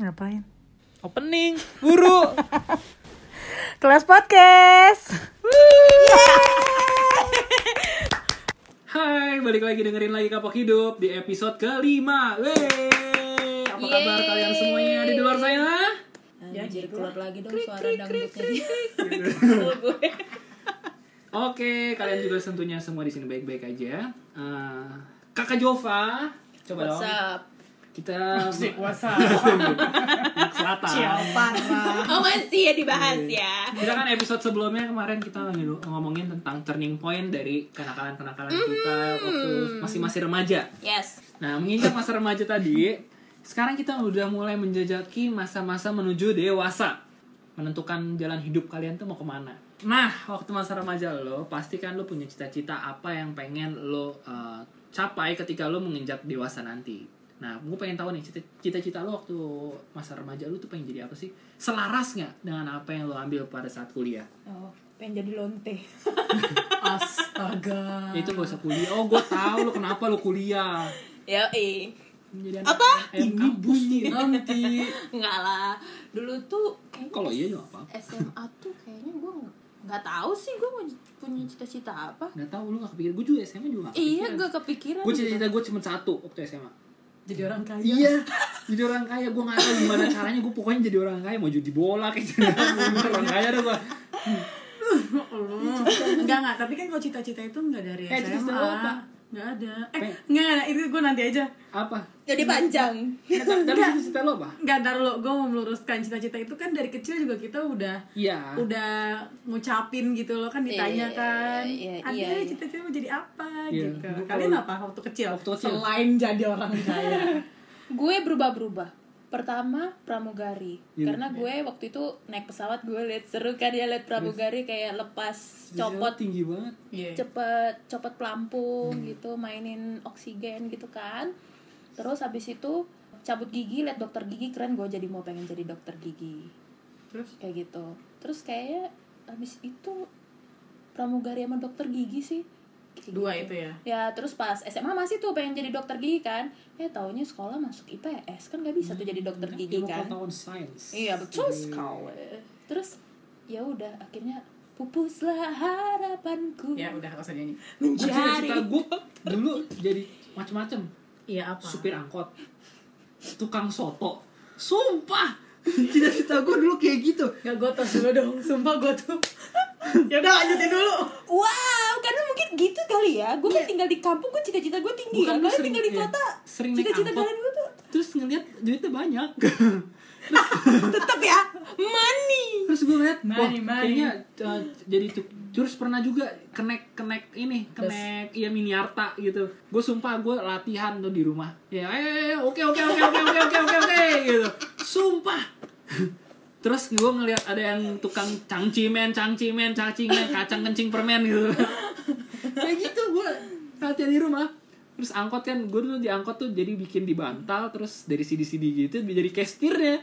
Ngapain? Opening, guru. Kelas podcast. Hai, balik lagi dengerin lagi Kapok Hidup di episode kelima. Wey, apa kabar Yeay. kalian semuanya di luar sana? Ya, Anjir, gitu keluar lagi dong suara dangdutnya dia. Oke, kalian juga tentunya semua di sini baik-baik aja. Eh, Kakak Jova, coba dong. WhatsApp. Kita Musik WhatsApp. selatan. Oh masih ya dibahas ya. Kita kan episode sebelumnya kemarin kita lagi lu- ngomongin tentang turning point dari kenakalan-kenakalan kita waktu masih-masih remaja. Yes. Nah, menginjak masa remaja tadi, sekarang kita udah mulai menjajaki masa-masa menuju dewasa. Menentukan jalan hidup kalian tuh mau kemana. Nah, waktu masa remaja lo, pastikan lo punya cita-cita apa yang pengen lo uh, capai ketika lo menginjak dewasa nanti. Nah, gue pengen tahu nih cita- cita-cita lo waktu masa remaja lo tuh pengen jadi apa sih? Selaras nggak dengan apa yang lo ambil pada saat kuliah? Oh, pengen jadi lonte. Astaga. Itu gak usah kuliah. Oh, gue tahu lo kenapa lo kuliah. Yo eh. Jadi anak Apa? ayam Ini kampus. bunyi nanti. Enggak lah. Dulu tuh kayaknya Kalau iya juga apa? SMA tuh kayaknya gue nggak- nggak tahu sih gue mau j- punya cita-cita apa. Nggak tahu lu gak kepikiran. Gue juga SMA juga gak Iya, gue kepikiran. Gue gitu. cita-cita gue cuma satu waktu SMA. Jadi orang kaya. Iya. Jadi orang kaya. Gue gak tahu gimana caranya. Gue pokoknya jadi orang kaya. Mau jadi bola kayak gitu. orang kaya dah gue. Ya enggak enggak, tapi kan kalau cita-cita itu enggak dari Eh, cita-cita SMA. lo apa? Enggak ada. Pe- Eh, enggak enggak, itu gue nanti aja. Apa? Jadi panjang. Tapi cita-cita lo apa? Enggak, ntar lo, gue mau meluruskan cita-cita itu kan dari kecil juga kita udah Iya. udah ngucapin gitu loh kan ditanya Iya, kan iya, ada iya, iya. cita-cita mau jadi apa Iya, gitu gua kalian kalau- apa waktu kecil Waktu kecil. selain jadi orang kaya Gue berubah-berubah. Pertama pramugari Iya. karena gue waktu itu naik pesawat gue liat seru kan ya liat pramugari kayak lepas copot tinggi banget. Iya. cepet copot pelampung Hmm. gitu mainin oksigen gitu kan terus habis itu cabut gigi liat dokter gigi keren gue jadi mau pengen jadi dokter gigi terus kayak gitu terus kayaknya habis itu pramugari sama dokter gigi sih Kayak dua gitu. itu ya ya terus pas SMA masih tuh pengen jadi dokter gigi kan ya taunya sekolah masuk IPS kan gak bisa tuh jadi dokter Iya, gigi Ilmu kan pengetahuan sains. Iya betul sekali. Terus ya udah akhirnya pupuslah harapanku. ya udah nggak usah nyanyi Gua Cita-cita Menjadi gue dulu jadi macem-macem. iya apa supir angkot tukang soto sumpah cita-cita gue dulu kayak gitu Gak gue tos dulu dong, sumpah gue tuh Yaudah lanjutin dulu Wow, karena mungkin gitu kali ya. Gue kan tinggal di kampung, gue cita-cita gue tinggi Bukan, ya. lu Kalian sering- tinggal di iya. kota, Sering naik cita-cita angkot. kalian gue tuh terus ngeliat duitnya banyak tetap ya money. terus gue ngeliat wah Mari, mari. kayaknya uh, jadi tuh terus pernah juga kenek kenek ini kenek iya miniarta gitu gue sumpah gue latihan tuh di rumah ya eh eh, oke oke oke oke oke oke oke oke gitu sumpah terus gue ngeliat ada yang tukang cangcimen cangcimen cangcimen kacang kencing permen gitu kayak gitu gue latihan di rumah terus angkot kan gue dulu di angkot tuh jadi bikin di bantal terus dari sidi sidi gitu jadi kestirnya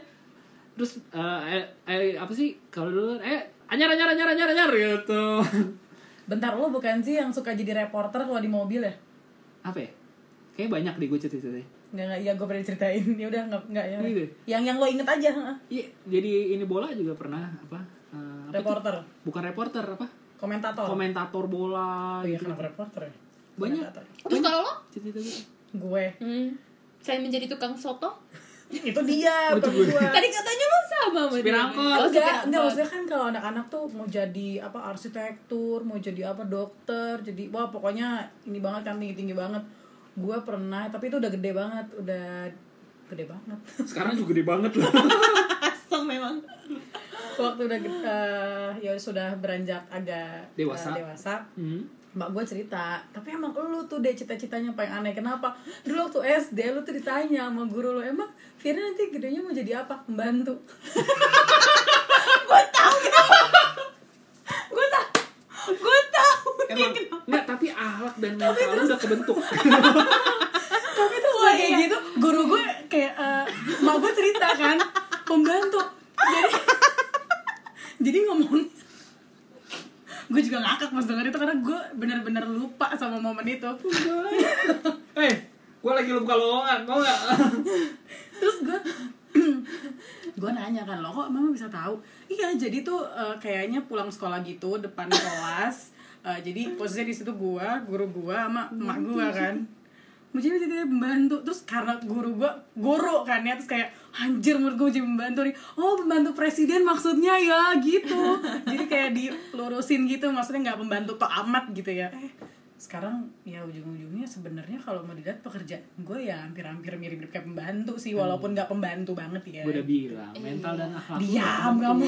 terus eh, eh, eh, apa sih kalau dulu eh anyar anyar anyar anyar anyar gitu Bentar lo bukan sih yang suka jadi reporter kalau di mobil ya? apa ya kayak banyak deh gue cerita ceritanya Enggak enggak, iya gue pernah ceritain. Ya udah enggak enggak ya. Gitu. Yang yang lo inget aja, heeh. iya jadi ini bola juga pernah apa, eh, apa tuh? reporter, Oh. bukan reporter apa komentator. komentator oh bola iya gitu. kenapa reporter ya? banyak Komentator. Terus kalau lo? cerita gitu Gue. Hmm, saya menjadi tukang soto. Itu dia, bukan gue. Tadi katanya lo sama sama Supir dia. angkot. Oh, Enggak, supir enggak angkot. maksudnya kan kalau anak-anak tuh mau jadi apa arsitektur, mau jadi apa dokter, jadi wah pokoknya ini banget kan tinggi-tinggi banget. Gue pernah, tapi itu udah gede banget, udah gede banget. sekarang juga gede banget loh Asem memang. Waktu udah gede, eh, ya sudah beranjak agak eh, Dewasa. dewasa. Hmm. Mbak gue cerita, tapi emang lu tuh deh cita-citanya paling aneh Kenapa? Dulu waktu SD lu tuh ditanya sama guru lu Emang Fira nanti gedenya mau jadi apa? Membantu Gue tau, gue tau. Iya, emang enggak tapi ahlak dan mental lu udah kebentuk Tapi tuh kayak gitu, guru gue kayak eh, Mbak gue cerita kan, pembantu Jadi, jadi ngomong Gue juga ngakak pas denger itu karena gue bener-bener lupa sama momen itu eh gue lagi lupa lowongan mau nggak Terus gue gue nanya kan lo kok mama bisa tahu iya jadi tuh eh, kayaknya pulang sekolah gitu depan kelas Eh, jadi posisinya di situ gue guru gue sama emak gue kan Mujib itu dia pembantu terus karena guru gue guru kan ya terus kayak anjir menurut gue jadi pembantu nih oh pembantu presiden maksudnya ya gitu jadi kayak dilurusin gitu maksudnya nggak pembantu tok amat gitu ya eh, sekarang ya ujung-ujungnya sebenarnya kalau mau dilihat pekerjaan gue ya hampir-hampir mirip-mirip kayak pembantu sih walaupun nggak pembantu banget ya Hmm. Gue udah bilang, mental dan akhlak. diam kamu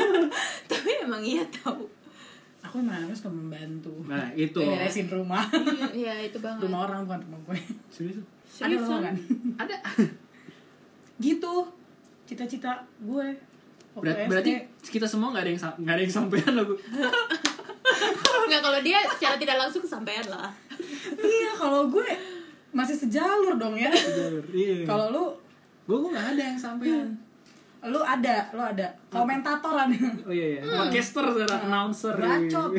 tapi emang iya tahu aku emang harus ke pembantu Nah, itu. beresin rumah iya itu banget rumah orang bukan rumah gue Serius. ada rumah kan ada gitu cita-cita gue Waktu Berat- SD. berarti kita semua nggak ada yang sa- nggak ada yang sampean loh. Bu. nggak kalau dia secara tidak langsung kesampaian lah iya kalau gue masih sejalur dong ya Iya. kalau lu Hmm. Gue gue nggak ada yang sampean. lu ada lu ada komentatoran Oh iya iya. Podcaster secara announcer. Hmm. bacot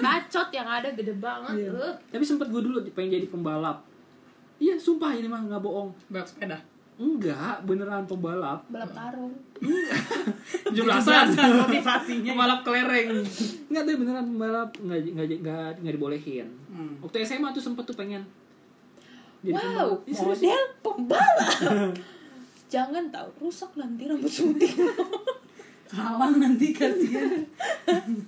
bacot yang ada gede banget Iya. Eh, Tapi sempat gue dulu pengen jadi pembalap. Iya, sumpah ini mah nggak bohong. balap sepeda Enggak, beneran pembalap. balap karung Jelasan. motivasinya pembalap kelereng. Enggak tapi beneran pembalap nggak nggak nggak nggak dibolehin. Hmm. Waktu SMA tuh sempet tuh pengen. Jadi wow pembalap. Ih, serius. model pembalap jangan tahu rusak nanti rambut suntik kalang nanti kasihan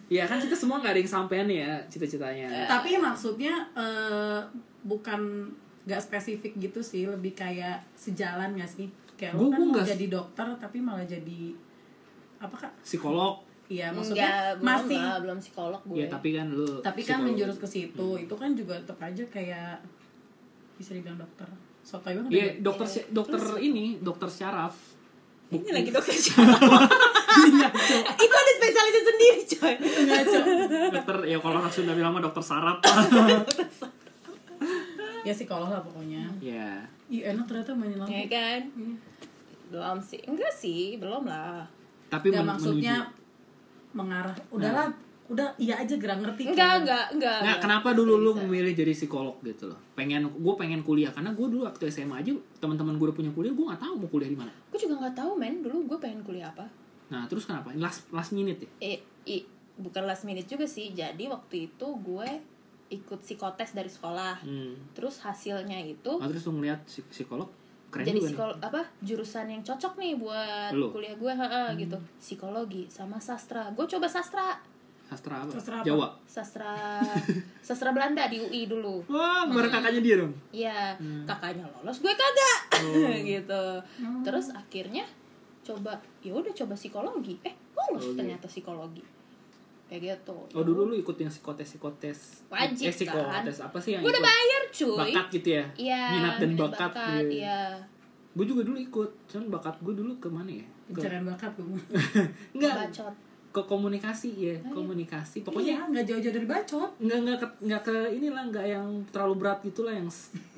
Iya kan kita semua nggak ada yang sampean ya cita-citanya. tapi maksudnya eh, bukan nggak spesifik gitu sih lebih kayak sejalan nggak sih kayak lu Gua- kan gua mau nggak- jadi dokter tapi malah jadi apa kak Psikolog. iya Enggak, maksudnya belum masih lah, belum psikolog gue Iya tapi kan lu. tapi kan psikolog. menjurus ke situ Hmm. itu kan juga tetap aja kayak bisa dibilang dokter sotoy banget Iya ya. dokter si- dokter ini dokter syaraf. ini lagi dokter siapa Iya, itu ada spesialisnya sendiri coy dokter ya kalau orang Sunda bilang mah dokter saraf. ya psikolog lah pokoknya Iya. iya enak ternyata mainin lampu ya kan Hmm. belum sih enggak sih belum lah Tapi nggak men- maksudnya menuju. mengarah udahlah udah iya aja gerak ngerti enggak enggak enggak eh, Nah, kenapa dulu lu memilih jadi psikolog gitu loh? Pengen gue pengen kuliah karena gue dulu waktu SMA aja teman-teman gue udah punya kuliah, gue nggak tahu mau kuliah di mana. gue juga nggak tahu men dulu gue pengen kuliah apa Nah, terus kenapa? Last last minute ya? eh, i, bukan last minute juga sih jadi waktu itu gue ikut psikotes dari sekolah Hmm. terus hasilnya itu Nah, terus lu ngeliat psi- psikolog keren jadi juga psikol apa jurusan yang cocok nih buat Lu? Hmm. kuliah gue heeh, gitu psikologi sama sastra gue coba sastra nih. Sastra apa? Sastra apa? Jawa. sastra sastra Belanda di UI dulu Wah, Oh, bareng kakaknya dia dong. Iya, Hmm. kakaknya lolos, gue kagak. Oh. Oh. gitu. Terus akhirnya coba, ya udah coba psikologi. Eh, lolos Psikologi. ternyata psikologi. Kayak gitu. Oh, dulu lu ikut yang psikotes psikotes. eh, Wajib, psikotes apa sih yang Gue udah ikut? bayar, cuy. Bakat gitu ya. Iya, Minat dan minat bakat. gitu. Iya. Gue juga dulu ikut. Cuman bakat gue dulu kemana ya? Ke, pencarian bakat gue enggak, Bacot. ke komunikasi ya, Oh, iya. komunikasi. Pokoknya pokoknya Iya, nggak jauh-jauh dari bacot nggak nggak ke, nggak ke inilah nggak yang terlalu berat gitulah yang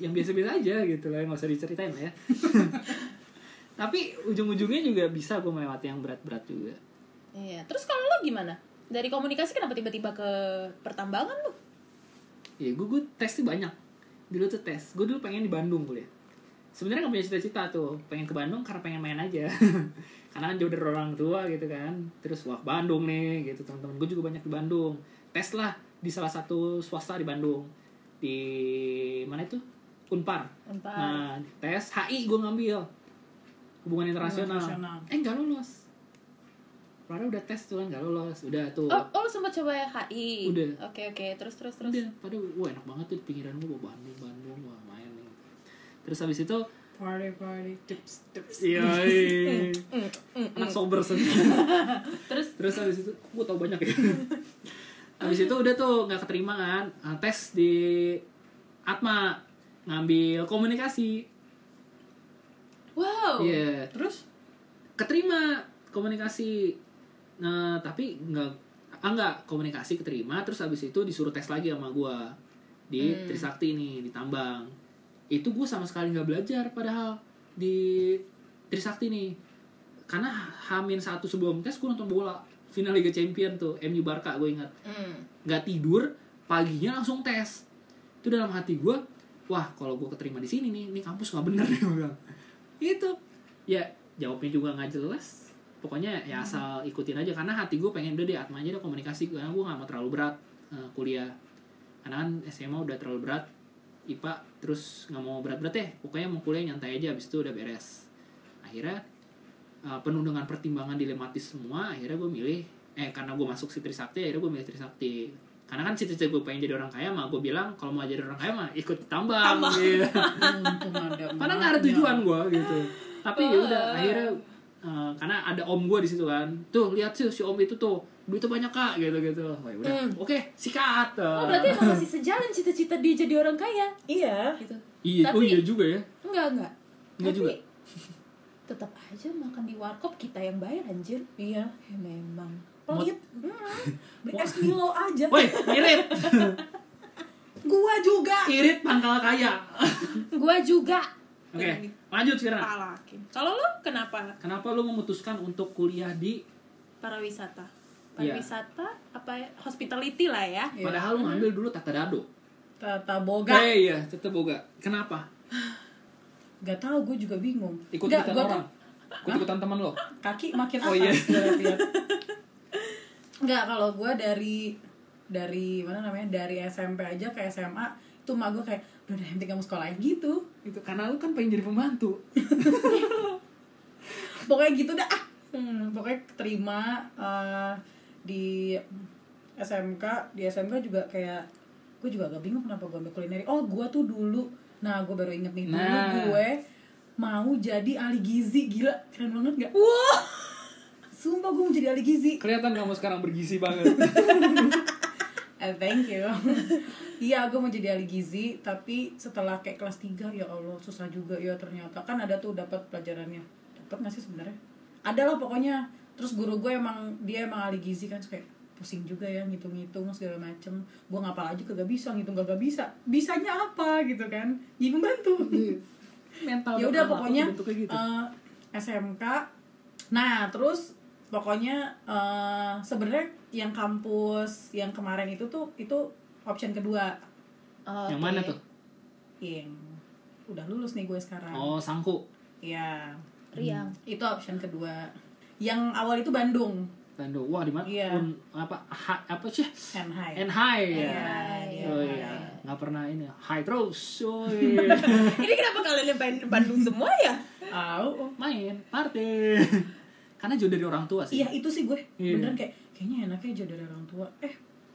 yang biasa-biasa aja gitu lah nggak usah diceritain lah ya tapi ujung-ujungnya juga bisa gue melewati yang berat-berat juga Iya. Terus kalau lo gimana? Dari komunikasi kenapa tiba-tiba ke pertambangan lu? ya gue gue tes tuh banyak dulu tuh tes gue dulu pengen di Bandung kuliah sebenarnya gak punya cita-cita tuh pengen ke Bandung karena pengen main aja karena kan jauh dari orang tua gitu kan terus wah Bandung nih gitu teman-teman gue juga banyak di Bandung tes lah di salah satu swasta di Bandung di mana itu Unpar Unpar. nah tes HI gue ngambil hubungan internasional internasional. eh nggak lulus Padahal udah tes tuh kan nggak lulus udah tuh Oh, oh lo sempat coba HI. Udah. Oke, oke. Terus terus terus. Udah, pada Iya. wah enak banget tuh di pinggiran gua bawa Bandung, Bandung, wah main nih. Terus habis itu, party party tips tips iya, anak sober sih. Mm, Terus Terus habis itu, kok gua tau banyak ya. habis itu udah tuh nggak keterima kan, Nah, tes di Atma ngambil komunikasi, wow iya, terus keterima komunikasi. Nah tapi nggak, ah nggak komunikasi keterima, terus habis itu disuruh tes lagi sama gua di Trisakti nih di Tambang. Itu gua sama sekali nggak belajar padahal di Trisakti nih, karena Hamin satu sebelum tes gua nonton bola final Liga Champion tuh MU Barca gue ingat Mm. Hmm. nggak tidur paginya langsung tes itu dalam hati gue wah kalau gue keterima di sini nih ini kampus nggak bener nih gua bilang. itu ya jawabnya Gitu. juga nggak jelas pokoknya ya asal ikutin aja karena hati gue pengen udah deh atma aja deh komunikasi karena gue gak mau terlalu berat eh, kuliah karena kan SMA udah terlalu berat IPA terus nggak mau berat-berat deh pokoknya mau kuliah nyantai aja abis itu udah beres akhirnya eh, penuh dengan pertimbangan dilematis semua akhirnya gue milih eh karena gue masuk si Trisakti akhirnya gue milih Trisakti karena kan cita-cita gue pengen jadi orang kaya mah gue bilang kalau mau jadi orang kaya mah ikut tambang, Iya. Untung ada karena nggak ada tujuan gue Iya. gitu tapi ya udah akhirnya eh, karena ada om gue di situ kan tuh lihat sih si om itu tuh duitnya banyak kak gitu gitu Wah, ya udah oke sikat Hmm. Eh, Oh berarti emang masih sejalan cita-cita dia jadi orang kaya Iya. gitu. iya oh Tapi- iya juga ya Enggak enggak. Enggak juga. tetap aja makan di warkop kita yang bayar anjir. Iya. Ya memang. iya. Pelit. Beli es Milo aja. woi irit Gua juga. irit pangkal kaya Gua juga. oke lanjut Ah. Firna Palakin. Kalau lu kenapa kenapa lu memutuskan untuk kuliah di pariwisata? Iya. Pariwisata apa ya? hospitality lah ya? padahal lu ngambil dulu tata dado Tata Iya. boga. Eh, iya tata boga kenapa Gak tau, gue juga bingung. ikut Nggak, ikutan gua tuh orang ikut ikutan teman lo kaki makin Oh, atas iya. gua lihat. Nggak, kalau gue dari dari mana namanya dari SMP aja ke SMA itu mah gue kayak udah deh, nanti kamu sekolah gitu itu karena lu kan pengen jadi pembantu pokoknya gitu dah ah. Hmm, pokoknya keterima eh, di SMK di SMK juga kayak gue juga agak bingung kenapa gue ambil kulineri oh gue tuh dulu nah gue baru inget nih dulu Nah. gue mau jadi ahli gizi gila keren banget gak? sumpah gue mau jadi ahli gizi kelihatan kamu sekarang bergizi banget Eh, thank you. Iya, gue mau jadi ahli gizi, tapi setelah kayak kelas 3 ya Allah susah juga ya ternyata. Kan ada tuh dapat pelajarannya. Dapat nggak sih sebenarnya? Ada lah pokoknya. Terus guru gue emang dia emang ahli gizi kan terus kayak pusing juga ya ngitung-ngitung segala macem gue ngapal aja kagak bisa ngitung kagak bisa bisanya apa gitu kan jadi pembantu Iya. mental Iya. ya udah anak pokoknya tuh bentuknya gitu eh, SMK nah terus pokoknya eh, sebenarnya yang kampus yang kemarin itu tuh itu option kedua eh, Oke. yang mana tuh yang udah lulus nih gue sekarang oh sangku ya Riang. itu option kedua yang awal itu Bandung Tando wah di mana Iya. Un- apa ha- apa sih Enhai and high ya Iya, oh iya. iya nggak pernah ini high terus oh iya Ini kenapa kalian yang main Bandung semua ya? Au. main party karena jauh dari orang tua sih iya itu sih gue Iya. beneran kayak kayaknya enaknya aja dari orang tua eh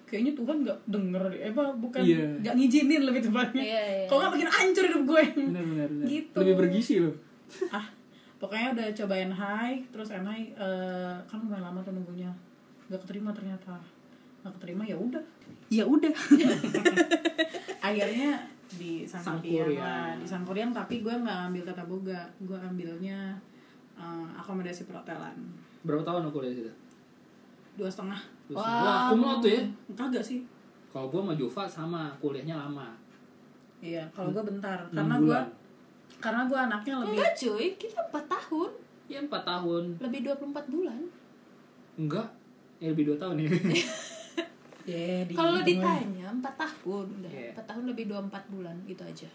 kayaknya Tuhan nggak denger deh. eh apa bukan Iya. nggak ngizinin lebih tepatnya Iya, iya. kalau nggak makin hancur hidup gue benar benar benar. Gitu. lebih bergizi loh ah pokoknya udah cobain high terus NI eh, kan lumayan lama tuh nunggunya nggak keterima ternyata nggak keterima ya udah ya udah akhirnya di Sangkuriang Sangkuriang. lah di Sangkuriang tapi gue nggak ambil tata boga gue ambilnya eh, akomodasi perhotelan berapa tahun aku dari situ dua setengah Terus, wah aku mau tuh Eh, ya kagak sih kalau gue sama Jova sama kuliahnya lama iya kalau gue bentar Enam karena gue bulan. karena gue anaknya lebih Enggak cuy, kita 4 tahun, ya empat tahun lebih 24 bulan. enggak ya lebih dua tahun ya ya di Kalau ditanya 4 tahun, udah Iya. 4 tahun lebih 24 bulan gitu aja.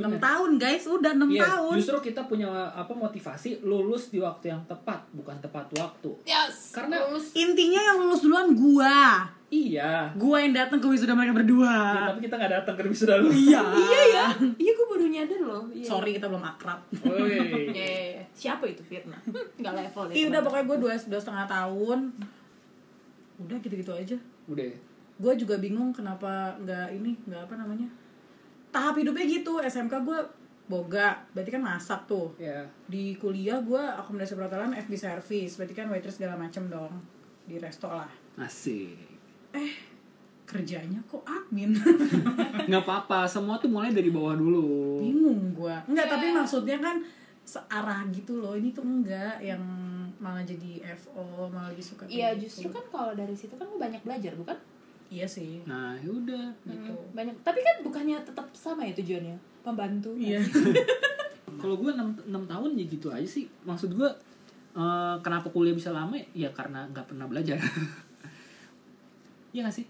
enam Iya. tahun guys udah enam Iya, tahun justru kita punya apa motivasi lulus di waktu yang tepat bukan tepat waktu Yes. Karena- lulus intinya yang lulus duluan gua iya gua yang datang ke wisuda mereka berdua Ya, tapi kita nggak datang ke wisuda lu. Ah. iya Iya ya, iya gue baru nyadar loh. Iya. sorry kita belum akrab Woi. Iya, iya, iya. Siapa itu Firna? Enggak level ya. Ih, Iya, udah teman. pokoknya gue dua dua setengah tahun udah gitu gitu aja Udah. ya? gue juga bingung kenapa nggak ini nggak apa namanya tahap hidupnya gitu SMK gue boga berarti kan masak tuh Ya. di kuliah gue akomodasi perhotelan FB service berarti kan waitress segala macem dong di resto lah Eh, Asik. kerjanya kok admin Nggak apa-apa, semua tuh mulai dari bawah dulu. Iya. bingung gue nggak Iya. tapi maksudnya kan searah gitu loh ini tuh enggak yang malah jadi FO malah lebih suka Iya, kayak justru gitu. kan kalau dari situ kan lu banyak belajar, bukan? iya sih Nah, ya udah. gitu Banyak. Tapi kan bukannya tetap sama ya tujuannya? Pembantu. Iya. Kalau gue 6, tahun ya gitu aja sih. Maksud gue eh, kenapa kuliah bisa lama? Ya karena nggak pernah belajar. Iya nggak sih?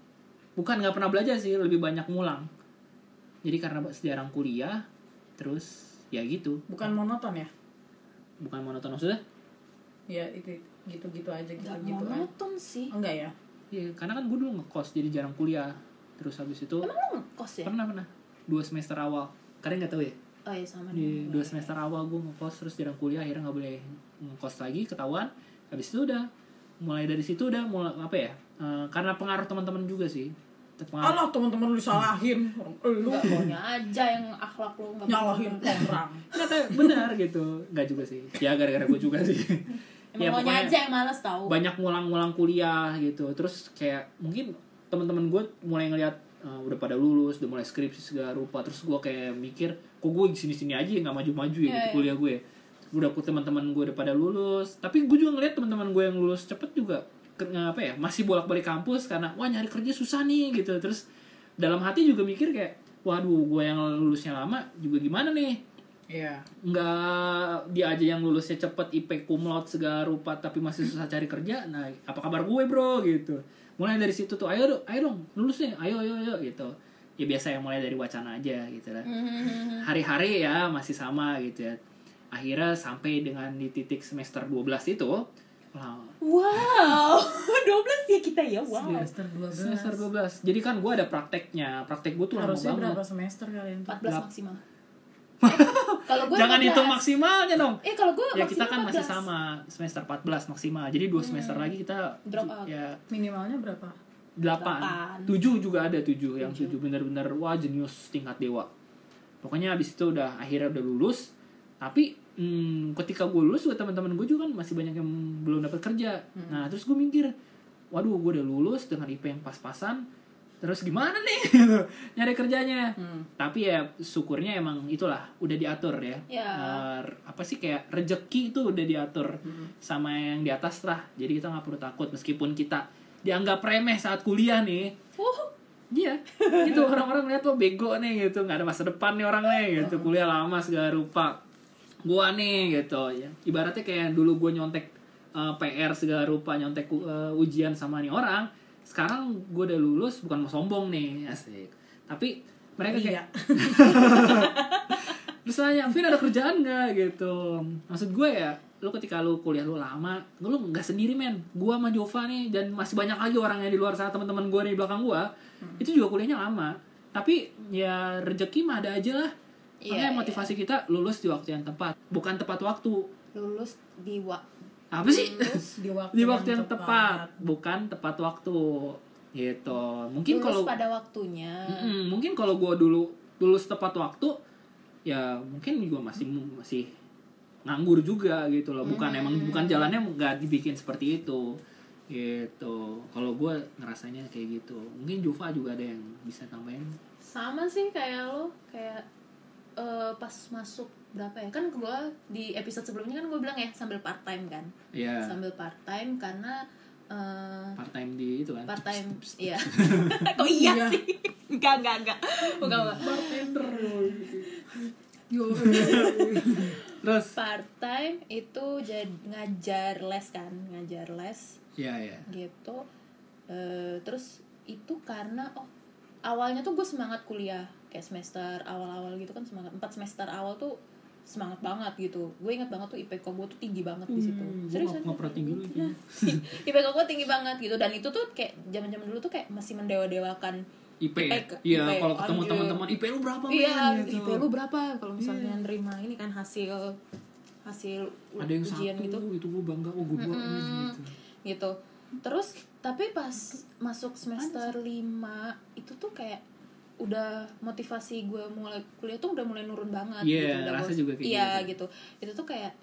Bukan nggak pernah belajar sih, lebih banyak ngulang. Jadi karena jarang kuliah, terus ya gitu. bukan monoton ya Bukan monoton maksudnya? ya itu gitu gitu aja gitu Gak gitu kan monoton sih. enggak ya Iya, karena kan gue dulu ngekos jadi jarang kuliah. Terus habis itu Emang lo ngekos ya? pernah pernah dua semester awal. Kalian nggak tahu ya? Oh iya sama Di dong. dua semester awal gue ngekos terus jarang kuliah akhirnya nggak boleh ngekos lagi ketahuan. Habis itu udah mulai dari situ udah mulai apa ya? Eh, karena pengaruh teman-teman juga sih. Pengaruh. Oh, Allah teman-teman lu disalahin orang lu Gak maunya aja yang akhlak lo gak nyalahin orang Nggak tahu, benar gitu. Nggak juga sih. Ya gara-gara gue juga sih. Ya, Emang maunya pokoknya- aja yang males tau. banyak ngulang-ngulang kuliah gitu terus kayak mungkin teman-teman gue mulai ngeliat eh, udah pada lulus udah mulai skripsi segala rupa terus gue kayak mikir kok gue di sini-sini aja ya nggak maju-maju ya Iya, gitu iya. kuliah gue udah aku teman-teman gue udah pada lulus tapi gue juga ngeliat teman-teman gue yang lulus cepet juga ke- apa ya masih bolak-balik kampus karena wah nyari kerja susah nih gitu terus dalam hati juga mikir kayak waduh gue yang lulusnya lama juga gimana nih Iya. nggak dia aja yang lulusnya cepet IP cum laude segala rupa tapi masih susah cari kerja nah apa kabar gue bro gitu mulai dari situ tuh ayo dong ayo dong lulus nih ayo ayo ayo gitu ya biasa yang mulai dari wacana aja gitu lah Hmm. hari-hari ya masih sama gitu ya akhirnya sampai dengan di titik semester 12 itu lah, Wow, 12 ya kita ya, wow. semester 12 semester 12 jadi kan gue ada prakteknya praktek gue tuh lama harusnya banget berapa semester kalian tuh 14 Lap. maksimal. Eh, kalau gue jangan 14. hitung maksimalnya dong Eh kalau gue ya kita maksimal kan masih 14. sama semester 14 maksimal jadi dua semester lagi kita Drop out. ya minimalnya berapa Delapan. 8 7 juga ada 7 yang 7 bener-bener wah jenius tingkat dewa pokoknya abis itu udah akhirnya udah lulus tapi hmm, ketika gue lulus juga teman-teman gue juga kan masih banyak yang belum dapat kerja nah terus gue mikir waduh gue udah lulus dengan IP yang pas-pasan terus gimana nih Gitu, nyari kerjanya tapi ya syukurnya emang itulah udah diatur ya Ya. Eh, apa sih kayak rejeki itu udah diatur sama yang di atas lah jadi kita nggak perlu takut meskipun kita dianggap remeh saat kuliah nih Iya, gitu orang-orang lihat lo bego nih gitu, nggak ada masa depan nih orang nih gitu, kuliah lama segala rupa. Gua nih gitu ya. Ibaratnya kayak dulu gue nyontek eh, PR segala rupa, nyontek eh, ujian sama nih orang. Sekarang gue udah lulus bukan mau sombong nih, asik. Tapi mereka Iya, kayak terus nanya, Vin ada kerjaan nggak gitu? Maksud gue ya, lo ketika lo kuliah lo lama, lo nggak sendiri men. Gue sama Jova nih dan masih banyak lagi orang yang di luar sana teman-teman gue di belakang gue, Hmm. itu juga kuliahnya lama. Tapi ya rezeki mah ada aja lah. Iya, Makanya motivasi kita lulus di waktu yang tepat, bukan tepat waktu. lulus di wa Apa sih? di waktu, di waktu yang, tepat. bukan tepat waktu. Gitu. Mungkin lulus kalau pada waktunya. Mm-mm, mungkin kalau gue dulu lulus tepat waktu ya mungkin juga masih masih nganggur juga gitu loh bukan emang bukan jalannya nggak dibikin seperti itu gitu kalau gue ngerasanya kayak gitu mungkin Juva juga ada yang bisa tambahin Sama sih kayak lo kayak eh, pas masuk berapa ya kan gue di episode sebelumnya kan gue bilang ya sambil part time kan ya sambil part time karena eh, part time di itu kan part time iya Kok iya, sih? Enggak, enggak, enggak. Enggak, enggak. Hmm. terus part time itu jadi ngajar les kan ngajar les ya ya gitu Eh, terus itu karena oh awalnya tuh gue semangat kuliah kayak semester awal-awal gitu kan semangat empat semester awal tuh semangat banget gitu gue inget banget tuh IPK gue tuh tinggi banget di situ gue Hmm, nggak serius kan? Iya. serius. nggak pernah tinggi lagi IPK gue tinggi banget gitu dan itu tuh kayak zaman-zaman dulu tuh kayak masih mendewa-dewakan IP ya? IP, iya anjir. kalau ketemu teman-teman IP lu berapa men?" Iya, gitu. Iya. IP lu berapa kalau misalnya nerima ini kan hasil hasil u- ada yang ujian satu gitu itu gue bangga oh gue dua Mm-mm. gitu gitu. Terus tapi pas masuk semester 5 itu tuh kayak udah motivasi gue mulai kuliah tuh udah mulai nurun banget Iya, gitu. Udah rasa gua- juga kayak Iya gitu. gitu. Itu tuh kayak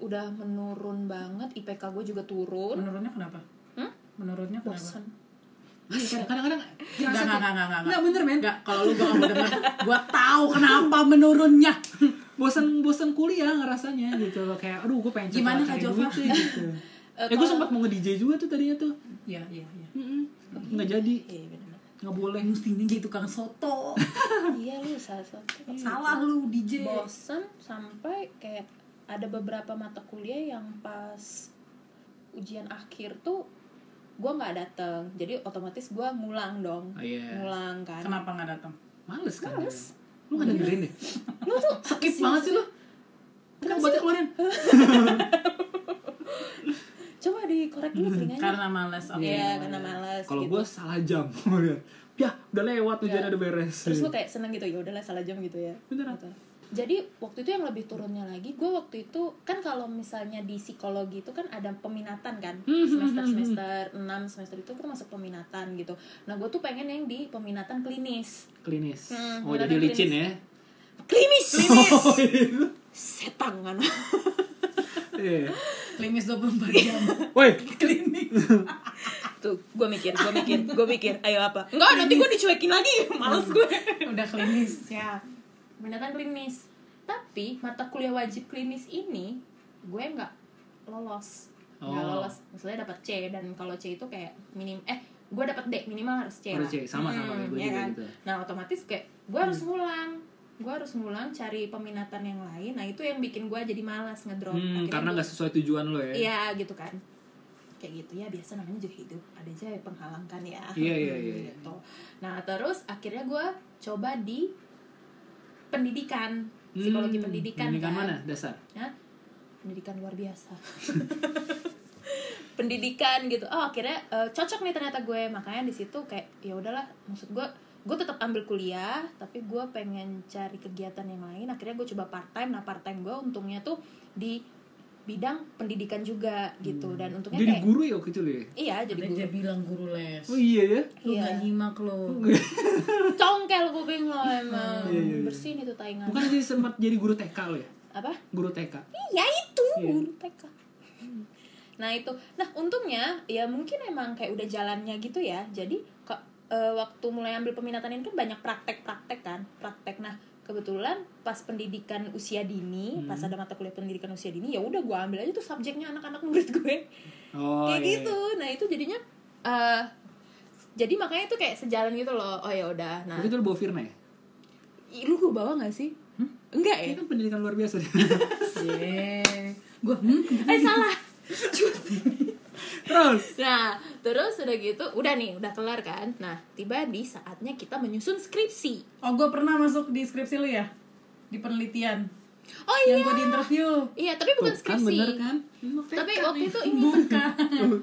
udah menurun banget, IPK gue juga turun. menurutnya kenapa Hmm? menurutnya kenapa Bosan. Iya, kadang-kadang Enggak, ngerasa enggak, kayak- enggak, enggak, Nggak, bener men Enggak, kalau lu gak mau denger, gua tahu kenapa menurunnya. bosen bosen kuliah ngerasanya gitu loh kayak aduh gue pengen Gimana, cari Kak Jova? duit deh, gitu Eh, ya gue sempat mau nge DJ juga tuh tadinya tuh Iya, iya, iya. Mm-mm. nggak jadi Iya, bener-bener. nggak boleh Mestinya jadi tukang soto. Iya lu salah satu. Salah lu DJ. bosen sampai kayak ada beberapa mata kuliah yang pas ujian akhir tuh gue nggak dateng jadi otomatis gue ngulang dong Oh, iya. ngulang kan Kenapa nggak datang? males kan lu nggak dengerin deh lu tuh skip banget sih lu kan buatnya keluarin dikorek Hmm, dulu telinganya. karena malas oke Iya, karena malas Kalau gitu. gue salah jam, gua liat. ya udah lewat hujan Ya. ada beres. Terus Iya. lu kayak seneng gitu, ya udahlah salah jam gitu ya. Beneran. Gitu. Jadi waktu itu yang lebih turunnya lagi, gue waktu itu kan kalau misalnya di psikologi itu kan ada peminatan kan Hmm, semester semester 6 semester itu kan masuk peminatan gitu. Nah gue tuh pengen yang di peminatan klinis, klinis. Hmm, oh beneran jadi licin klinis. ya? Oh, klinis, klinis, setang kan. Iya. Klimis 24 jam. Woi, Tuh, gue mikir, gue mikir, gue mikir, ayo apa? Enggak, nanti gue dicuekin lagi, Nah, males gue. Udah klimis. ya peminatan klinis. Tapi mata kuliah wajib klinis ini gue nggak lolos, nggak Oh. lolos. Maksudnya dapat C dan kalau C itu kayak minim eh gue dapat D minimal harus C. Harus C, lah. sama, sama kayak gue iya juga kan? gitu. Hmm. Nah otomatis kayak gue harus ngulang, gue harus ngulang cari peminatan yang lain. Nah itu yang bikin gue jadi malas ngedrop. hmm, gitu. Akhirnya karena gua- nggak sesuai tujuan lo ya? Iya gitu kan. Kayak gitu ya biasa namanya juga hidup ada aja yang penghalang kan ya. Iya, iya, iya, iya. Gitu. Nah terus akhirnya gue coba di pendidikan psikologi Hmm, pendidikan pendidikan kan. mana dasar? Hah? pendidikan luar biasa pendidikan gitu oh akhirnya eh, cocok nih ternyata gue makanya di situ kayak ya udahlah maksud gue gue tetap ambil kuliah tapi gue pengen cari kegiatan yang lain akhirnya gue coba part time nah part time gue untungnya tuh di bidang pendidikan juga gitu dan untungnya Hmm. Jadi kayak guru ya waktu itu lo ya? iya jadi Ada guru aja bilang guru les. Oh iya ya? Lu iya gak nyimak lo. congkel gue bingung lo emang Iya, iya, iya. bersihin itu taingan Bukan jadi sempat jadi guru TK lo ya? apa Guru TK. ya itu Iya. guru TK nah itu nah untungnya ya mungkin emang kayak udah jalannya gitu ya jadi ke, eh, waktu mulai ambil peminatan ini kan banyak praktek-praktek kan praktek nah kebetulan pas pendidikan usia dini Hmm. pas ada mata kuliah pendidikan usia dini ya udah gue ambil aja tuh subjeknya anak-anak murid gue Oh iya, kayak iya. gitu nah itu jadinya eh jadi makanya itu kayak sejalan gitu loh oh ya udah nah Waktu itu lo bawa Firna ya? ih, lu gue bawa nggak sih enggak ya Ini kan pendidikan luar biasa deh. Yeay. Gue hmm, eh salah Terus Nah, terus udah gitu, udah nih, udah kelar kan. Nah, tiba di saatnya kita menyusun skripsi. Oh, gue pernah masuk di skripsi lu ya? Di penelitian. Oh Yang iya. gue di interview. Iya, tapi Tuh, bukan kan skripsi. bener kan? Tapi waktu itu ini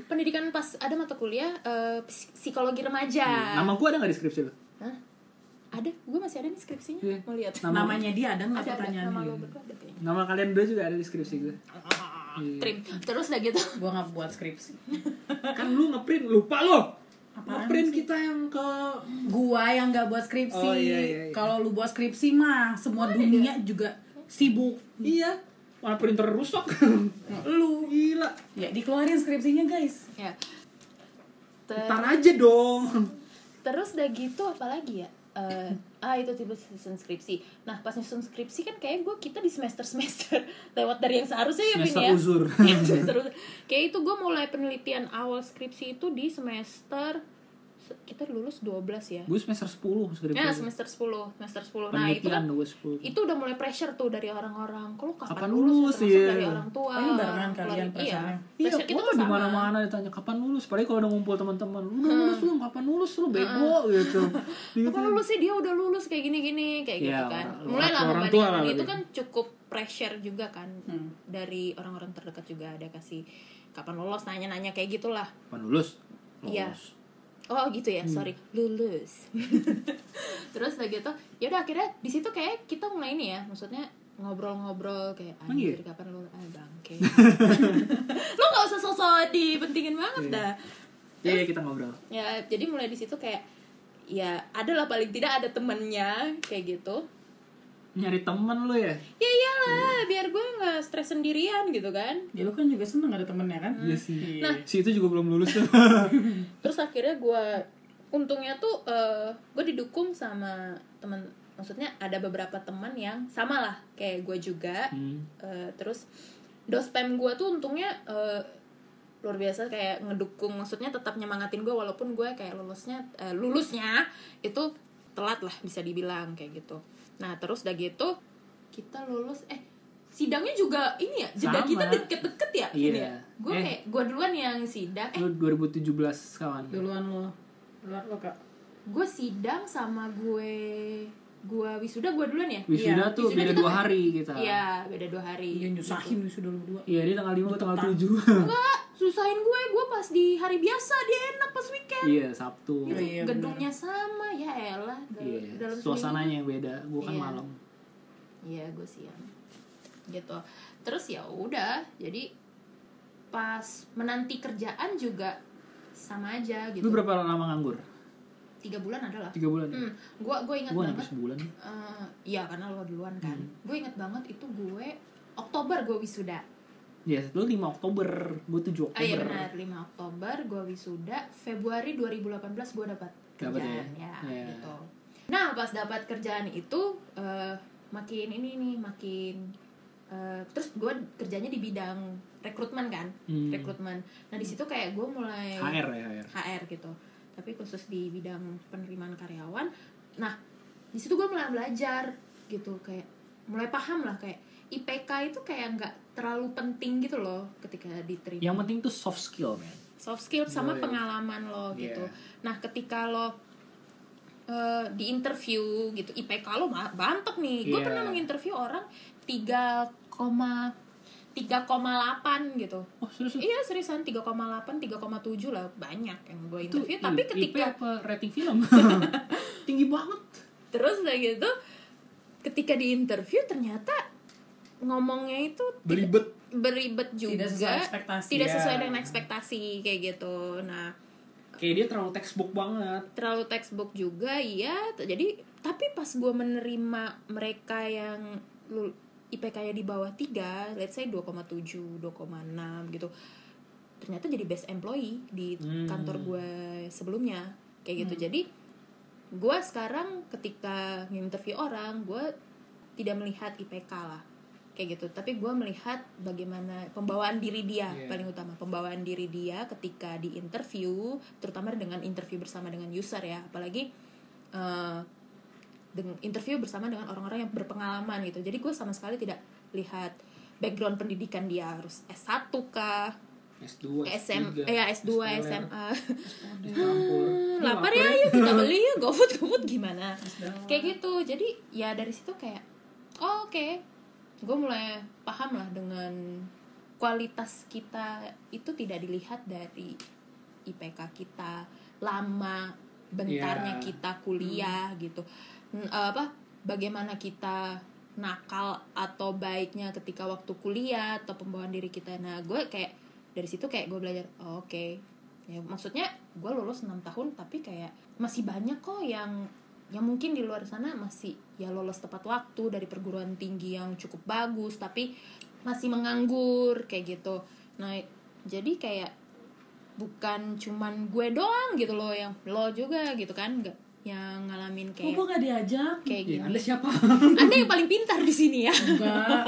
pendidikan pas ada mata kuliah eh, psik- psikologi remaja. Iya, Nama gue ada nggak di skripsi lo? Hah? Ada, gue masih ada nih skripsinya. Iya. Mau lihat. Nama- Namanya dia ada nggak ada, ada. Nama pertanyaannya? lo berdua ada kayaknya. Nama kalian dua juga ada di skripsi gue. Ah. Iya. Trim. Terus udah gitu. Gue nggak buat skripsi. Kan lu ngeprint lupa lo. Apaan Ngeprint kita yang ke Gua yang nggak buat skripsi. Oh, iya, iya, iya. Kalau lu buat skripsi mah semua dunia juga sibuk. Iya. Mana printer rusak. Lu Gila. ya dikeluarin skripsinya guys. Ya. Ter- Ntar aja dong. Terus udah gitu apalagi ya? Eh, ah itu tiba nyusun skripsi. Nah pas nyusun skripsi kan kayak gue kita di semester semester lewat dari yang seharusnya ya Vin Semester ya. uzur. Iya, Hmm. semester uzur. Kayak itu gue mulai penelitian awal skripsi itu di semester se- kita lulus 12 ya. Gue semester 10 skripsi. Ya gua. semester 10 semester 10 Nah itu Penelitian kan gue 10. itu udah mulai pressure tuh dari orang-orang. Kalau kapan, Kapan lulus, lulus, termasuk iya. dari orang tua. Kayaknya barengan keluar- kalian iya. pressure-nya. Iya, Pressure kita gue kan di sama. Hmm. mana-mana ditanya kapan lulus. Padahal kalau udah ngumpul teman-teman, lu udah lulus belum? Kapan lulus lu bego gitu. Gitu. Kapan lulus sih dia udah lulus kayak gini-gini kayak Ya, gitu kan. orang- Mulai lah orang membandingkan tua ya. lah diri. itu lebih. kan cukup pressure juga kan Hmm. dari orang-orang terdekat juga ada kasih kapan lolos nanya-nanya kayak gitulah. Kapan lulus? Iya. Oh gitu Hmm. ya, sorry lulus. Terus udah gitu, ya udah akhirnya di situ kayak kita mulai ini ya, maksudnya ngobrol-ngobrol kayak Oh, iya? anjir kapan lulus ah bangke. Lu nggak usah sosok dipentingin banget dah Iya, iya, kita ngobrol. ya jadi mulai di situ kayak ya adalah paling tidak ada temennya kayak gitu Nyari teman lu ya? ya Hmm. iyalah biar gue nggak stres sendirian gitu kan Ya lu kan juga seneng ada temennya kan? Iya sih. Si itu juga belum lulus tuh. terus akhirnya gue untungnya tuh eh, gue didukung sama teman maksudnya ada beberapa teman yang sama lah kayak gue juga Hmm. Eh, terus dospem gue tuh untungnya eh, luar biasa kayak ngedukung maksudnya tetap nyemangatin gue walaupun gue kayak lulusnya eh, lulusnya itu telat lah bisa dibilang kayak gitu nah terus udah gitu kita lulus eh sidangnya juga ini ya jeda Sama. kita deket-deket ya Iya. ini ya gue Eh. kayak gue duluan yang sidang eh Lu 2017 kawan. Duluan lo. Duluan lo kak. gue sidang sama gue gue wisuda gue duluan ya Wisuda tuh Wisuda beda kita dua kan- hari gitu. kita. iya beda dua hari Iya nyusahin wisuda lu dua. Iya, dia tanggal 5 gue tanggal Tentang. 7. Enggak, susahin gue gue pas di hari biasa dia enak pas weekend Iya, Sabtu. Gitu, Iya, bener. gedungnya sama ya elah dal- Iya, dalam seminggu. suasananya yang beda. Gue kan Iya. malam. iya gue siang gitu terus ya udah jadi pas menanti kerjaan juga sama aja gitu Lu berapa lama nganggur? tiga bulan adalah Tiga bulan. hmm, gue gue ingat Gue banget nyampe sebulan. eh, iya karena lo duluan kan Hmm. gue inget banget itu gue Oktober gue wisuda Ya, lu 5 Oktober, gue 7 Oktober. Ah iya benar, 5 Oktober gue wisuda, Februari 2018 gue dapat Dapat kerjaan ya? ya, Iya. gitu. Nah, pas dapat kerjaan itu eh, makin ini nih makin eh, terus gue kerjanya di bidang rekrutmen kan, Hmm. rekrutmen. Nah, di situ kayak gue mulai HR ya, HR. HR gitu. Tapi khusus di bidang penerimaan karyawan. Nah, di situ gue mulai belajar gitu kayak mulai paham lah kayak IPK itu kayak nggak terlalu penting gitu loh ketika diterima Yang penting tuh soft skill, man. soft skill sama Boleh. pengalaman lo gitu. Iya. Nah, ketika lo eh, di interview gitu, IPK lo ma- bantek nih. Gue Iya. pernah menginterview orang 3, 3,8 gitu. Oh, serius? lu? Iya seriusan 3,8, 3,7 lah banyak yang gue Itu interview. Tapi I- IP ketika apa rating film? Tinggi banget. terus udah gitu, ketika di interview ternyata ngomongnya itu Belibet. beribet juga, Tidak sesuai ekspektasi, tidak ya. sesuai dengan ekspektasi kayak gitu. Nah, Kayak dia terlalu textbook banget. terlalu textbook juga iya T- jadi tapi pas gue menerima mereka yang lul- IPK-nya di bawah 3, let's say 2,7, 2,6 gitu. Ternyata jadi best employee di Hmm. kantor gue sebelumnya. Kayak Hmm. gitu. Jadi gue sekarang ketika interview orang, gue tidak melihat IPK lah. Kayak gitu. Tapi gue melihat bagaimana pembawaan diri dia Iya. paling utama. Pembawaan diri dia ketika di interview, terutama dengan interview bersama dengan user ya. Apalagi eh, dengan interview bersama dengan orang-orang yang berpengalaman gitu. Jadi gue sama sekali tidak lihat background pendidikan dia harus S1 kah, S2, SM, eh, ya S2, SMA. Campur. Iya, Lapar ya, yuk kita beli yuk, GoFood, GoFood gimana? Kayak gitu. Jadi ya dari situ kayak oh, oke. Gue mulai paham lah dengan kualitas kita itu tidak dilihat dari IPK kita, lama bentarnya Iya. kita kuliah gitu. N- apa bagaimana kita nakal atau baiknya ketika waktu kuliah atau pembawaan diri kita. Nah, gue kayak dari situ kayak gue belajar, oh, oke. Ya, maksudnya gue lulus 6 tahun tapi kayak masih banyak kok yang yang Ya mungkin di luar sana masih ya lolos tepat waktu dari perguruan tinggi yang cukup bagus tapi masih menganggur kayak gitu. Nah, jadi kayak bukan cuman gue doang gitu loh yang lo juga gitu kan nggak yang ngalamin Kok gue kayak gak diajak? kayak Ya, gini. anda siapa? Anda yang paling pintar di sini ya. Enggak.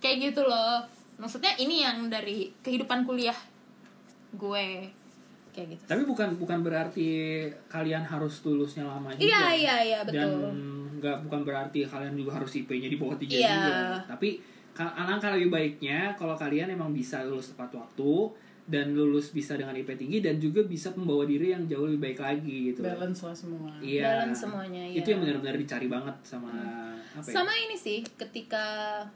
Kayak gitu loh. Maksudnya ini yang dari kehidupan kuliah gue. Kayak gitu. Tapi bukan bukan berarti kalian harus lulusnya lama juga. Iya, iya, iya, Dan betul. nggak bukan berarti kalian juga harus IP-nya di bawah 3 Iya. juga. Tapi ka- alangkah lebih baiknya kalau kalian emang bisa lulus tepat waktu dan lulus bisa dengan IP tinggi dan juga bisa membawa diri yang jauh lebih baik lagi gitu. Balance lah semua. Iya. Balance semuanya, iya. Hmm. Itu yang benar-benar dicari banget sama apa ya? Sama ini sih ketika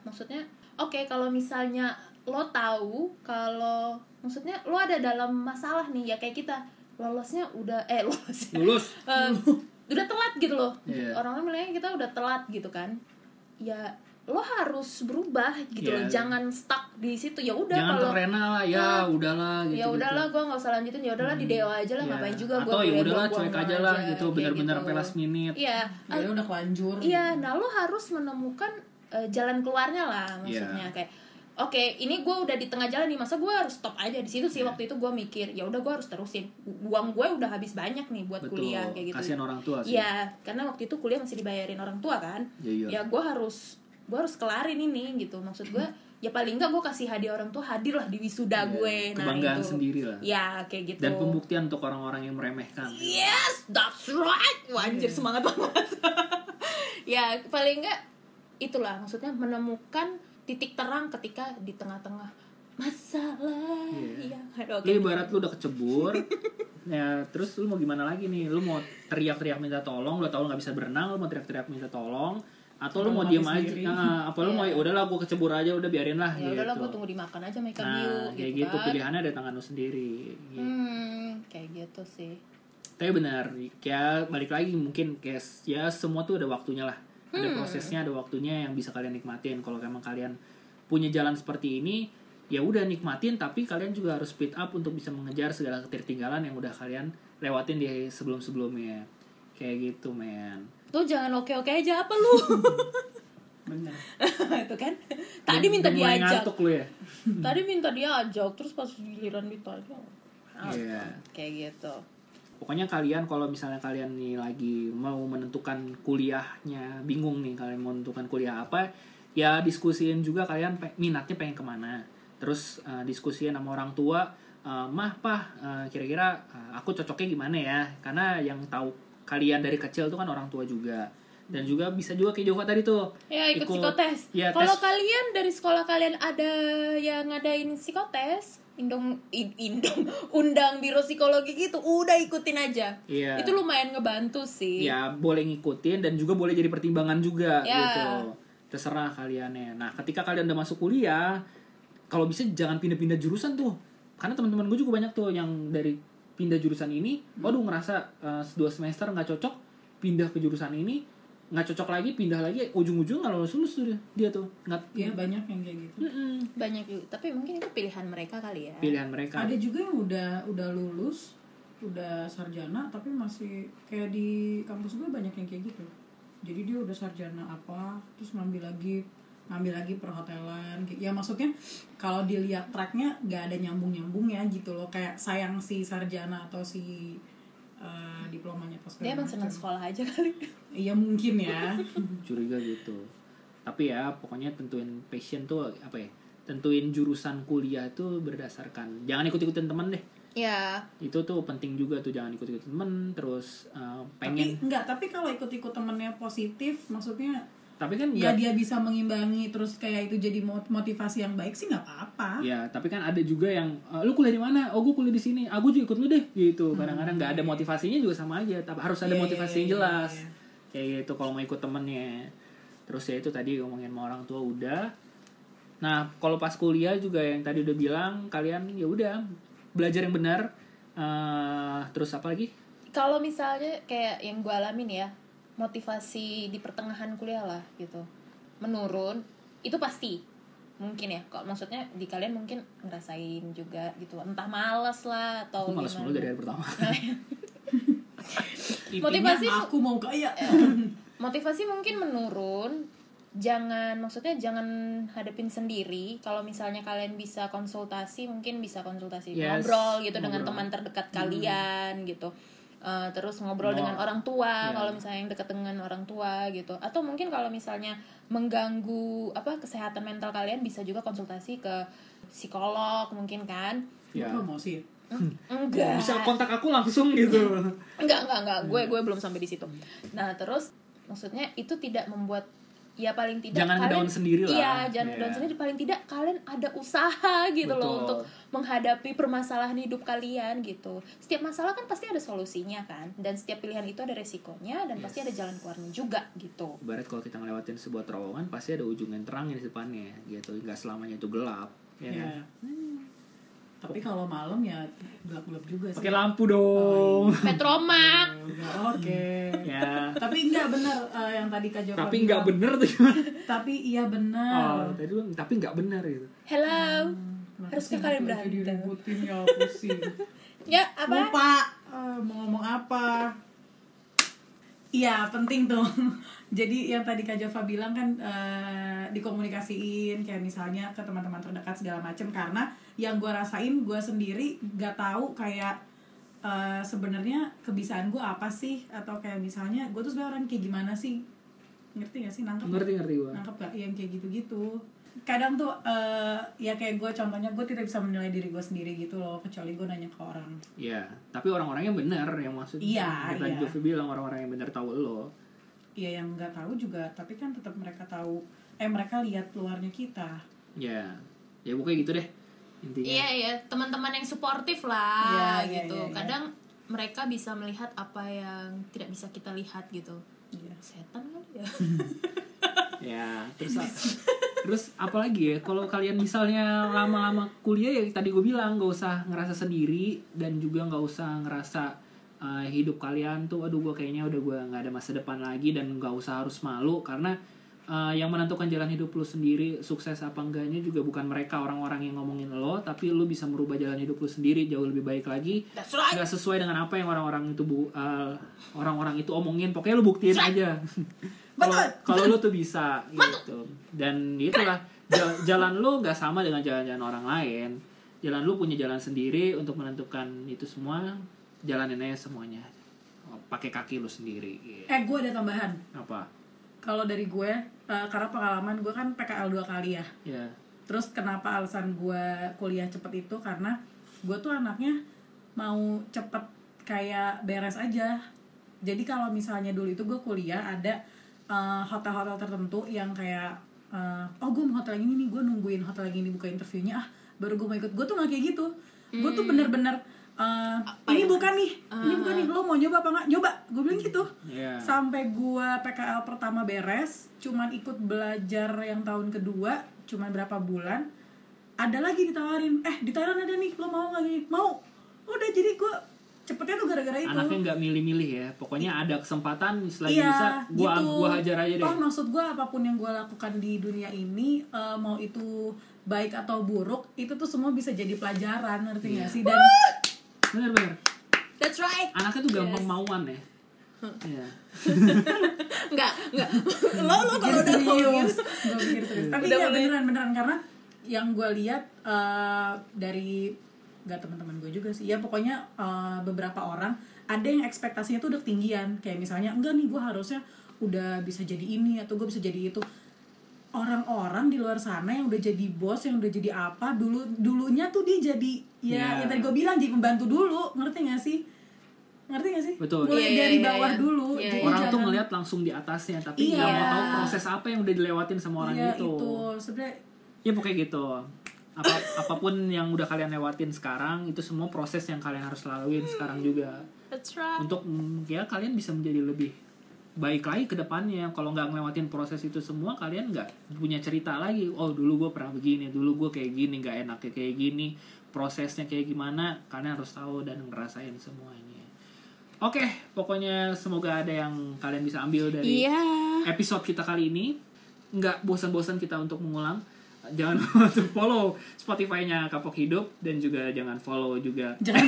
maksudnya oke kalau misalnya lo tahu kalau maksudnya lo ada dalam masalah nih ya kayak kita lolosnya udah eh lolosnya Lulus. Eh, udah telat gitu loh Iya. orang-orang bilangnya kita udah telat gitu kan ya lo harus berubah gitu Iya. loh jangan stuck di situ ya udah Jangan kalau terlena lah ya, udahlah gitu. ya udahlah gue nggak usah lanjutin ya udahlah di dewa aja lah Ya. ngapain juga gue Atau ya udahlah cuek aja lah gitu, benar-benar pelas minute. iya Ya udah kelanjur. Iya, nah lo harus menemukan eh, jalan keluarnya lah maksudnya Iya. kayak oke ini gue udah di tengah jalan nih masa gue harus stop aja di situ Iya. sih waktu itu gue mikir ya udah gue harus terusin uang gue udah habis banyak nih buat Betul. kuliah kayak gitu Kasihan orang tua sih. Iya, karena waktu itu kuliah masih dibayarin orang tua kan. Ya, iya. Ya gue harus gue harus kelarin ini gitu. Maksud gue ya paling enggak gue kasih hadiah orang tua hadir lah di wisuda Iya, gue. nah, kebanggaan sendiri lah. Ya kayak gitu. Dan pembuktian untuk orang-orang yang meremehkan. Yes, that's right. Wah, Hmm. anjir semangat banget. ya, paling enggak itulah maksudnya menemukan titik terang ketika di tengah-tengah masalah Iya. yang ada. Lu ibarat lu udah kecebur ya terus lu mau gimana lagi nih lu mau teriak-teriak minta tolong lu tau lu nggak bisa berenang lu mau teriak-teriak minta tolong atau lu mau diam aja sendiri. Ah, apa lu mau ya udahlah gua kecebur aja udah biarin lah Iya. ya gitu. udahlah gue tunggu dimakan aja makan you nah kayak gitu gitu kan pilihannya ada di tangan lu sendiri gitu. hmm kayak gitu sih tapi benar kayak balik lagi mungkin kayak ya semua tuh ada waktunya lah ada Hmm. prosesnya ada waktunya yang bisa kalian nikmatin kalau emang kalian punya jalan seperti ini ya udah nikmatin tapi kalian juga harus speed up untuk bisa mengejar segala ketertinggalan yang udah kalian lewatin di sebelum sebelumnya kayak gitu men tuh jangan oke oke aja apa lu bener itu kan tadi Udah- minta udah mulai diajak ngantuk lu ya tadi minta diajak terus pas giliran ditanya out. Iya. kayak gitu pokoknya kalian kalau misalnya kalian nih lagi mau menentukan kuliahnya bingung nih kalian mau menentukan kuliah apa ya diskusiin juga kalian pe- minatnya pengen kemana terus eh, diskusiin sama orang tua eh, mah pah eh, kira-kira eh, aku cocoknya gimana ya karena yang tahu kalian dari kecil tuh kan orang tua juga dan juga bisa juga kayak Joko tadi tuh ya ikut, Ikut- psikotes ya, kalau tes. kalian dari sekolah kalian ada yang ngadain psikotes indong in- indong undang biro psikologi gitu udah ikutin aja Iya. itu lumayan ngebantu sih ya boleh ngikutin dan juga boleh jadi pertimbangan juga Ya. gitu terserah kaliannya nah ketika kalian udah masuk kuliah kalau bisa jangan pindah-pindah jurusan tuh karena teman-teman gue juga banyak tuh yang dari pindah jurusan ini waduh ngerasa eh, dua semester nggak cocok pindah ke jurusan ini nggak cocok lagi pindah lagi ujung-ujung nggak lulus lulus tuh dia, dia tuh nggak Iya banyak yang kayak gitu. Mm-mm. banyak juga tapi mungkin itu pilihan mereka kali ya pilihan mereka Ada juga yang udah udah lulus, udah sarjana tapi masih kayak di kampus gue banyak yang kayak gitu. Jadi dia udah sarjana apa, terus ngambil lagi ngambil lagi perhotelan gitu. ya maksudnya kalau dilihat tracknya nggak ada nyambung nyambungnya gitu loh kayak sayang si sarjana atau si eh, diplomanya pas dia emang Hmm. senang sekolah aja kali iya mungkin ya curiga gitu tapi ya pokoknya tentuin passion tuh apa ya tentuin jurusan kuliah tuh berdasarkan jangan ikut-ikutin temen deh ya itu tuh penting juga tuh jangan ikut-ikut temen terus uh, tapi pengen enggak tapi kalau ikut-ikut temennya positif maksudnya tapi, kan ya nggak- dia bisa mengimbangi terus kayak itu jadi mot- motivasi yang baik sih nggak apa-apa ya tapi kan ada juga yang "Eh, lu kuliah di mana oh gue kuliah di sini aku juga ikut lu deh gitu kadang-kadang nggak ada motivasinya juga sama aja tapi harus Hmm. ada Iya, motivasi iya, yang iya, jelas iya. kayak gitu kalau mau ikut temennya terus ya itu tadi ngomongin sama orang tua udah nah kalau pas kuliah juga yang tadi udah bilang kalian ya udah belajar yang benar Eh, terus apa lagi kalau misalnya kayak yang gue alamin ya motivasi di pertengahan kuliah lah gitu menurun itu pasti mungkin ya kok maksudnya di kalian mungkin ngerasain juga gitu entah malas lah atau aku males mulu gimana. dari hari pertama motivasi Iya, aku mau kaya Eh. motivasi mungkin menurun jangan maksudnya jangan hadapin sendiri kalau misalnya kalian bisa konsultasi mungkin bisa konsultasi Yes, ngobrol gitu dengan ngobrol. Hmm. teman terdekat kalian gitu Eh, terus ngobrol dengan orang Ya. tua kalau misalnya yang dekat dengan orang tua gitu atau mungkin kalau misalnya mengganggu apa kesehatan mental kalian bisa juga konsultasi ke psikolog mungkin kan ya promosi enggak bisa kontak aku langsung gitu Enggak, enggak, enggak. Gue Hmm. gue belum sampai di situ. Nah, terus maksudnya itu tidak membuat ya paling tidak Jangan kalian ngedown sendiri lah. Iya, jangan Iya. ngedown sendiri paling tidak kalian ada usaha gitu loh Betul. untuk menghadapi permasalahan hidup kalian gitu. Setiap masalah kan pasti ada solusinya kan dan setiap pilihan itu ada resikonya dan pasti ada jalan keluarnya juga gitu. Ibarat kalau kita ngelewatin sebuah terowongan pasti ada ujung yang terang di depannya gitu nggak selamanya itu gelap ya ya kan? tapi kalau malam ya gelap-gelap juga sih pakai lampu dong Petromak. Ya, oke ya tapi enggak benar eh, yang tadi kak Joko tapi nggak bilang. bener tuh gimana tapi iya oh benar tadi bilang, tapi nggak bener gitu Hello. Kenapa Harusnya sih kalian aku aja berantem. diributin ya pusing Ya, apa? lupa eh, mau ngomong apa iya penting tuh jadi yang tadi kak Jova bilang kan eh, dikomunikasiin kayak misalnya ke teman-teman terdekat segala macem karena yang gue rasain gue sendiri gak tahu kayak eh, sebenarnya kebiasaan gue apa sih atau kayak misalnya gue tuh sebenarnya orang kayak gimana sih ngerti gak sih nangkep nggak? ngerti ngerti gua nangkep gak yang kayak gitu-gitu kadang tuh eh, ya kayak gue contohnya gue tidak bisa menilai diri gue sendiri gitu loh kecuali gue nanya ke orang ya tapi orang-orangnya bener yang maksudnya Iya, yang tadi iya. Jovi bilang orang-orang yang bener tahu lo Iya yang nggak tahu juga, tapi kan tetap mereka tahu. Eh mereka lihat luarnya kita. ya ya pokoknya gitu deh intinya Iya iya teman-teman yang suportif lah Iya, iya, gitu. iya, iya. Kadang mereka bisa melihat apa yang tidak bisa kita lihat gitu. Iya. Setan kan ya. ya terus terus apalagi ya kalau kalian misalnya lama-lama kuliah ya tadi gue bilang gak usah ngerasa sendiri dan juga nggak usah ngerasa eh, hidup kalian tuh aduh gue kayaknya udah gue nggak ada masa depan lagi dan nggak usah harus malu karena eh, yang menentukan jalan hidup lu sendiri sukses apa enggaknya juga bukan mereka orang-orang yang ngomongin lo tapi lu bisa merubah jalan hidup lu sendiri jauh lebih baik lagi That's right. nggak sesuai dengan apa yang orang-orang itu bu eh, orang-orang itu omongin pokoknya lu buktiin aja kalau kalau lu tuh bisa gitu dan itulah ja- jalan lu nggak sama dengan jalan-jalan orang lain jalan lu punya jalan sendiri untuk menentukan itu semua jalanin aja semuanya Oh, pakai kaki lu sendiri gitu. Eh, gue ada tambahan. apa Kalau dari gue, eh, karena pengalaman gue kan PKL dua kali ya. ya Terus kenapa alasan gue kuliah cepet itu karena gue tuh anaknya mau cepet kayak beres aja. Jadi kalau misalnya dulu itu gue kuliah ada eh, hotel-hotel tertentu yang kayak eh, oh gue mau hotel yang ini nih gue nungguin hotel yang ini buka interviewnya ah baru gue mau ikut gue tuh nggak kayak gitu. Gue tuh bener-bener eh, ini bukan nih, ini bukan nih lo mau nyoba apa nggak? Nyoba, gue bilang gitu. Iya. Sampai gua PKL pertama beres, cuman ikut belajar yang tahun kedua, cuman berapa bulan, ada lagi ditawarin, eh di Thailand ada nih, lo mau nggak gini? Mau. Udah jadi gua cepetnya tuh gara-gara itu. anaknya nggak milih-milih ya pokoknya ada kesempatan selagi Iya, bisa gua gitu. gua hajar aja deh Toh, maksud gua apapun yang gua lakukan di dunia ini, eh, mau itu baik atau buruk, itu tuh semua bisa jadi pelajaran, ngerti nggak Iya. sih? Dan bener-bener That's right. anaknya tuh gampang mauan ya Iya. Enggak, enggak. Lo lo Oh, kalau udah mau serius Gua pikir serius gitu. tapi Udah ya mulai. beneran beneran karena yang gue lihat eh, dari nggak teman-teman gue juga sih ya pokoknya eh, beberapa orang ada yang ekspektasinya tuh udah tinggian kayak misalnya enggak nih gue harusnya udah bisa jadi ini atau gue bisa jadi itu orang-orang di luar sana yang udah jadi bos yang udah jadi apa dulu dulunya tuh dia jadi ya Ya. yang tadi gue bilang jadi pembantu dulu ngerti gak sih ngerti gak sih Betul. mulai Iya, dari iya, bawah iya. dulu Iya, jadi iya. orang tuh jangan- ngelihat langsung di atasnya tapi nggak Iya. mau tahu proses apa yang udah dilewatin sama orang Iya, itu. itu sebenarnya Ya pokoknya gitu. Apa apapun yang udah kalian lewatin sekarang itu semua proses yang kalian harus laluin sekarang juga That's right. untuk mm, ya kalian bisa menjadi lebih baik lagi ke depannya. Kalau nggak ngelewatin proses itu semua kalian nggak punya cerita lagi. Oh dulu gue pernah begini, dulu gue kayak gini, nggak enaknya kayak gini, prosesnya kayak gimana. Kalian harus tahu dan ngerasain semuanya. Oke, pokoknya semoga ada yang kalian bisa ambil dari Iya. episode kita kali ini nggak bosan-bosan kita untuk mengulang jangan lupa untuk follow Spotify-nya Kapok Hidup dan juga jangan follow juga jangan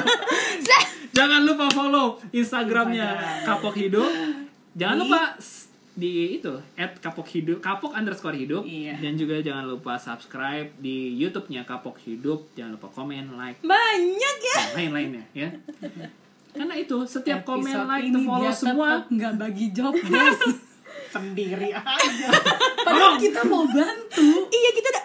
jangan lupa follow Instagramnya Kapok Hidup jangan lupa s- di itu at kapok hidup kapok underscore hidup Iya. dan juga jangan lupa subscribe di YouTube-nya kapok hidup jangan lupa komen like Banyak ya. dan lain-lainnya ya karena itu setiap komen Episode like to ini follow dia semua tetap nggak bagi job desk sendiri aja Padahal kita mau bantu. Iya, kita udah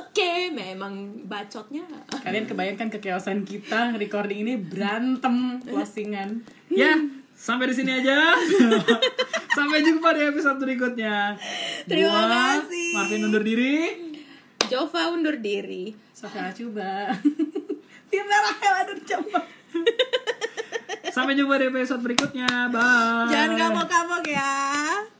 Oke, memang bacotnya. kalian kebayangkan kekeosan kita recording ini berantem closingan Ya, sampai di sini aja. sampai jumpa di episode berikutnya. Terima Gua, kasih. Marvin undur diri. Jova undur diri. Sofia coba Dia merah aduh Jova. Sampai jumpa di episode berikutnya. Bye. Ah. Jangan kapok-kapok ya.